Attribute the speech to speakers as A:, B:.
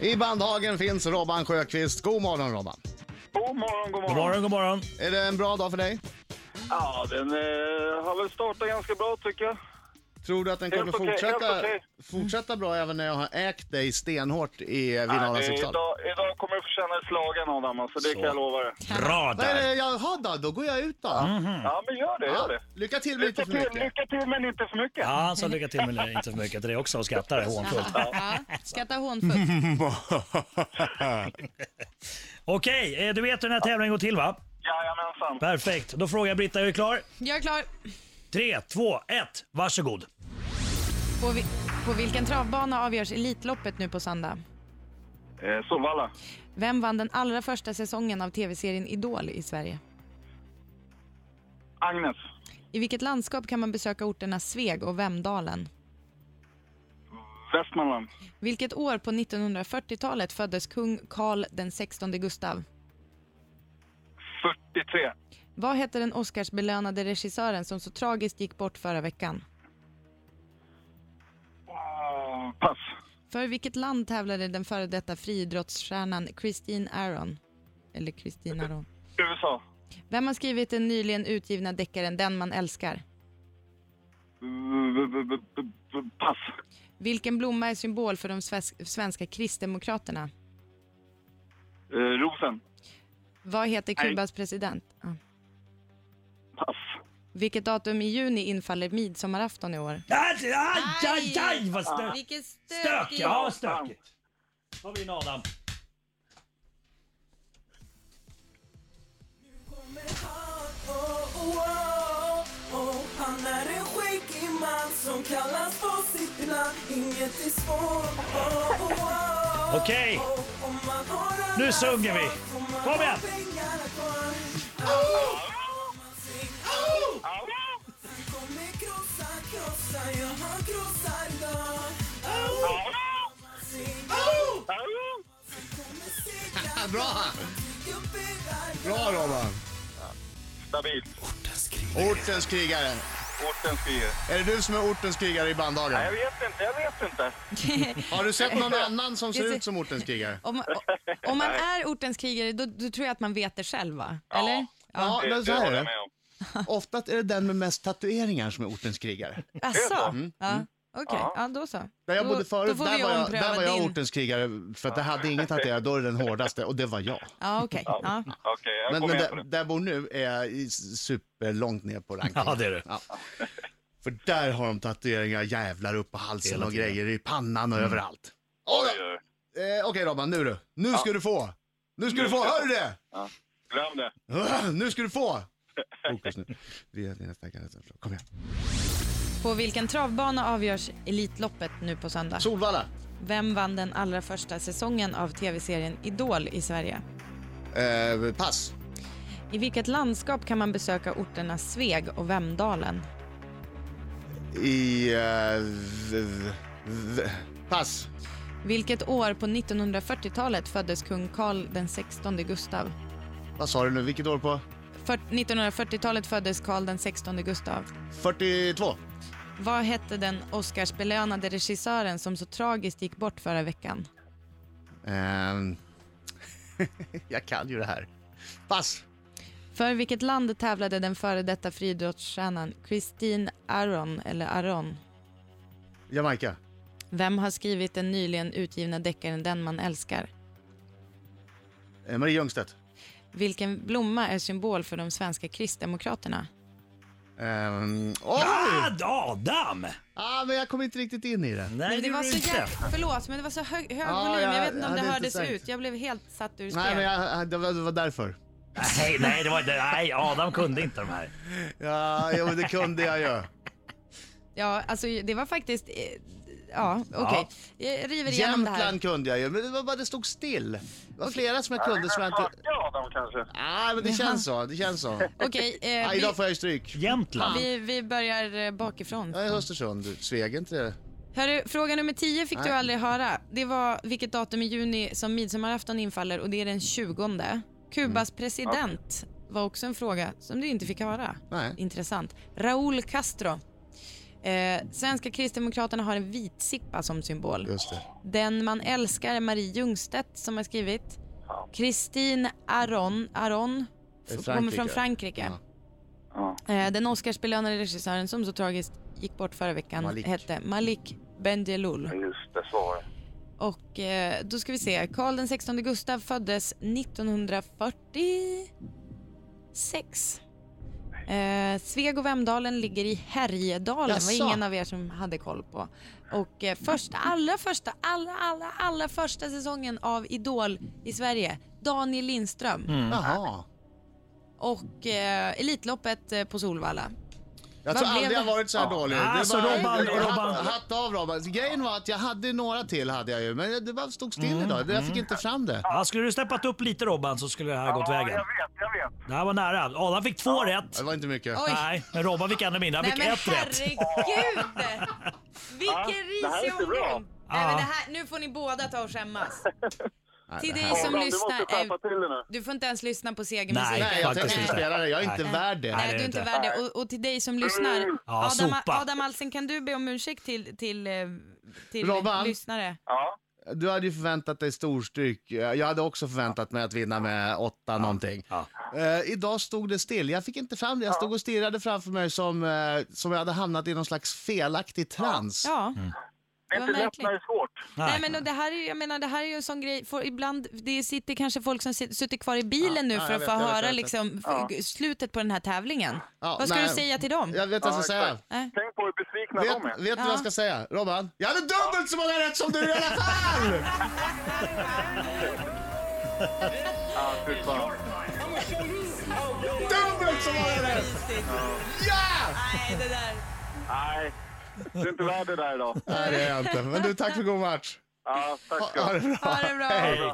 A: I Bandhagen finns Robban Sjöqvist. God morgon Robban.
B: God morgon, god
C: God
B: morgon.
C: morgon, god morgon.
A: Är det en bra dag för dig?
B: Ja, den eh, har väl startat ganska bra tycker jag.
A: Tror du att den kommer
B: Helt okej,
A: fortsätta,
B: helt okej. Mm.
A: fortsätta bra även när jag har ägt dig stenhårt i, vid
B: Nej,
A: Norra
B: det-
A: Sexdal?
B: Eh, idag, idag kommer du få känna dig slagen Adam, alltså, det kan jag lova dig.
C: Bra
A: Vad är
C: där.
A: det? Jaha då, då går jag ut då.
B: Ja, men gör det, gör
A: Mm. Ja,
B: det.
A: lycka till med
B: Lycka
A: inte för
B: till,
A: mycket.
B: lycka till men inte för mycket.
C: Ja, han sa lycka till men inte för mycket till det också och skrattade hånfullt.
D: Ja, skratta hånfullt.
C: Okej, eh, du vet hur den här tävlingen går till va?
B: Jajamensan.
C: Perfekt. Då frågar jag Britta, är du klar?
D: Jag är klar.
C: 3, 2, 1, varsågod.
D: På, vi, på vilken travbana avgörs Elitloppet nu på söndag?
B: Eh, Solvalla.
D: Vem vann den allra första säsongen av tv-serien Idol i Sverige?
B: Agnes.
D: I vilket landskap kan man besöka orterna Sveg och Vemdalen?
B: Västmanland.
D: Vilket år på 1940-talet föddes kung Karl den 16 Gustav?
B: 43.
D: Vad heter den Oscarsbelönade regissören som så tragiskt gick bort förra veckan?
B: Oh, pass.
D: För vilket land tävlade den före detta friidrottsstjärnan Christine Aron? Eller Christine Aron.
B: USA.
D: Vem har skrivit den nyligen utgivna deckaren Den man älskar?
B: V- v- v- v- Pass.
D: Vilken blomma är symbol för de sves- svenska kristdemokraterna?
B: Eh, Rosen.
D: Vad heter
B: Nej.
D: Kubas president? Ja.
B: Pass.
D: Vilket datum i juni infaller midsommarafton i år?
C: Aj, aj, aj, aj vad stök.
D: Vilken
C: Stök, ja stökigt. Då har vi in Adam.
E: Han är en skäggig man som kallas på sitt namn Inget är svårt
C: Okej, Nu sjunger vi. Kom igen.
A: Bra! Bra Robban!
B: Stabilt.
A: Ortens krigare.
B: Orten skriver.
A: Är det du som är ortens krigare i
B: Nej, jag
A: Bandhagen?
B: vet inte, jag vet inte.
A: Har du sett någon annan som ser
D: Jag ser-
A: ut som ortens krigare?
D: Om man, o- om man är ortens krigare, då, då tror jag att man vet det själv, va? Eller?
A: Ja,
B: Det,
A: men så
B: det
A: här
B: håller
A: är
B: jag
A: det.
B: med om.
A: Ofta är det den med mest tatueringar som är ortens krigare.
D: Asså? Ja. Okej,
B: Ja.
D: ja, då så.
A: Mm, Där jag
D: då,
A: bodde förut,
D: då får
A: där,
D: vi
A: var jag,
D: ompröva
A: där var jag
D: din.
A: ortens krigare för att det hade inget tatuerat, då är det den hårdaste och det var jag.
D: Ja, okej. Ja.
B: Okej, jag
A: Men,
B: går
A: men
B: med på
A: där,
B: det.
A: där jag bor nu är jag i- superlångt ner på rankingen.
C: Ja, det är du.
A: För där har de tatueringar jävlar upp på halsen
C: Hela
A: och
C: tiden. Mm.
A: grejer i pannan och överallt. Oh,
B: Oj, oj, oj.
A: eh, Okej Robban, nu du. Nu ska du få. Nu ska du få,
B: ska jag
A: hör du det?
B: Ja. Glöm det.
A: Nu ska du få. Fokus nu. Vi är dina starka röster. Kom igen.
D: På vilken travbana avgörs Elitloppet nu på söndag?
A: Solvalla.
D: Vem vann den allra första säsongen av tv-serien Idol i Sverige?
A: Eh, pass.
D: I vilket landskap kan man besöka orterna Sveg och Vemdalen?
A: I... eh, v, v, v, pass.
D: Vilket år på 1940-talet föddes kung Karl den 16 Gustav?
A: Vad sa du nu? Vilket år på?
D: För- 1940-talet föddes Karl den 16 Gustav.
A: 42.
D: Vad hette den Oscarsbelönade regissören som så tragiskt gick bort förra veckan?
A: Ehm, jag kan ju det här. Pass.
D: För vilket land tävlade den före detta friidrottsstjärnan Christine Aron, eller Aron?
A: Jamaica.
D: Vem har skrivit den nyligen utgivna deckaren Den man älskar?
A: Eh, Marie Ljungstedt.
D: Vilken blomma är symbol för de svenska kristdemokraterna?
A: Ehm, oj!
C: Ah, Adam!
A: Ah, men jag kom inte riktigt in i det.
C: Nej,
D: det var
C: gjorde
D: så
C: du inte.
D: jäk- Förlåt, men det var så hög, hög
A: Ja,
D: volym.
A: jag-
D: Jag vet inte
A: jag
D: om det
A: hade
D: hördes
A: inte sagt.
D: ut. Jag blev helt satt ur spel.
A: Nej, men jag, ah, det, var, det var därför.
C: Nej, nej, det var, inte- nej, Adam kunde inte de här.
A: Ja, jo, det kunde jag ju.
D: Ja, alltså det var faktiskt... eh, Ja, okej. Jag river igenom det här.
A: Jämtland kunde jag ju, men det var bara det stod still. Det var flera som jag kunde som jag inte...
B: Ja, de kanske.
A: Ah, men det känns så. Det känns så.
D: Okej, eh,
A: Ah,
D: vi,
A: idag får jag ju stryk.
C: Jämtland.
D: vi, vi börjar eh, bakifrån.
A: Jag är Östersund. Sveg inte det?
D: Hörru, fråga nummer 10 fick du
A: Nej.
D: aldrig höra. Det var vilket datum i juni som midsommarafton infaller och det är den 20. Kubas
A: Mm.
D: president var också en fråga som du inte fick höra.
A: Nej.
D: Intressant. Raúl Castro Eh, Svenska Kristdemokraterna har en vitsippa som symbol.
A: Just det.
D: Den man älskar, Marie Ljungstedt som har skrivit. Kristin Aron, Aron
A: Det är
D: f- kommer från
A: Frankrike.
D: Frankrike. Eh, Den Oscarsbelönade regissören som så tragiskt gick bort förra veckan
A: Malik.
D: hette Malik Bendjelloul.
B: Just det, så var det.
D: Och eh, då ska vi se. Karl den 16 Gustav föddes 1946. Eh, Sveg och Vemdalen ligger i Härjedalen. Det
A: Jaså?
D: var ingen av er som hade koll på. Och eh, första, allra första, allra, allra, allra första säsongen av Idol i Sverige. Daniel Lindström
C: Mm.
A: Jaha.
D: och eh, Elitloppet eh, på Solvalla.
A: Jag
D: Vad
A: tror
D: blev
A: aldrig jag
D: det?
A: varit så här
C: Ja.
A: dålig. Det är
C: Alltså, Robban, Robban.
A: hatt, hatt av Robban. Grejen var att jag hade några till hade jag ju, men det bara stod still
C: Mm,
A: idag. Jag fick inte fram det.
C: Ja, skulle du steppat upp lite Robban så skulle det här gått vägen.
B: jag vet, jag vet.
C: Det här var nära. Adam fick två rätt.
A: Det var inte mycket.
D: Oj.
C: Nej, men Robban fick ännu mindre. Han
D: Nej
C: fick
D: men
C: ett rätt.
D: herregud!
B: Ja,
D: Vilken
B: det här är
D: risig
B: inte bra.
D: omgång! Nej, men
C: Ja.
D: det här, nu får ni båda ta och skämmas.
A: Nej,
D: till
A: det här-
D: dig som-
B: Adam, du
D: lyssnar
B: måste skärpa
D: är-
B: till dig nu.
D: Du får inte ens lyssna på segermusik.
A: Nej, jag
C: faktiskt
A: tänker inte
C: inte.
A: spela det. Jag är inte
C: Nej.
A: värd det.
D: Nej,
C: det
D: du är inte
C: inte.
D: värd det. Och, och till dig som lyssnar, Adam,
C: sopa.
D: Adam Alsen, kan du be om ursäkt till, till, eh, till
A: Robban?
D: lyssnare?
B: Ja.
A: Du hade ju förväntat dig storstryk. Jag hade också förväntat mig att vinna med åtta någonting.
C: Ja.
A: Eh, idag stod det still. Jag fick inte fram det. Jag stod och stirrade framför mig som, eh, som jag hade hamnat i någon slags felaktig trans.
D: Ja.
B: Det är
D: Vad
B: inte lätt
D: märkligt.
B: när det är svårt.
D: Nej, men och det här är, jag menar, det här är ju en sån grej, för ibland, det sitter kanske folk som sit- sitter kvar i bilen nu
A: ja,
D: för
A: jag
D: att
A: vet,
D: få
A: jag vet, jag
D: höra
A: vet.
D: liksom, f- slutet på den här tävlingen.
A: Ja,
D: Vad ska
A: nej.
D: du säga till dem?
A: Jag vet vad jag ska
B: Ja,
A: säga.
B: exakt.
D: Nej.
B: Tänk på hur besvikna
A: Vet,
B: de är.
A: vet du vad
D: Ja.
A: jag ska säga? Robban? Jag hade dubbelt så många rätt som du i alla fall!
B: Ja, fy fan.
A: dubbelt så många rätt! Ja!
D: Nej, det där.
B: Nej, du är inte värd det där idag.
A: Nej, det är jag inte. Men du, tack för god match.
B: Ja, tack ska du ha.
A: det bra.
D: Ha det bra.
C: Hej.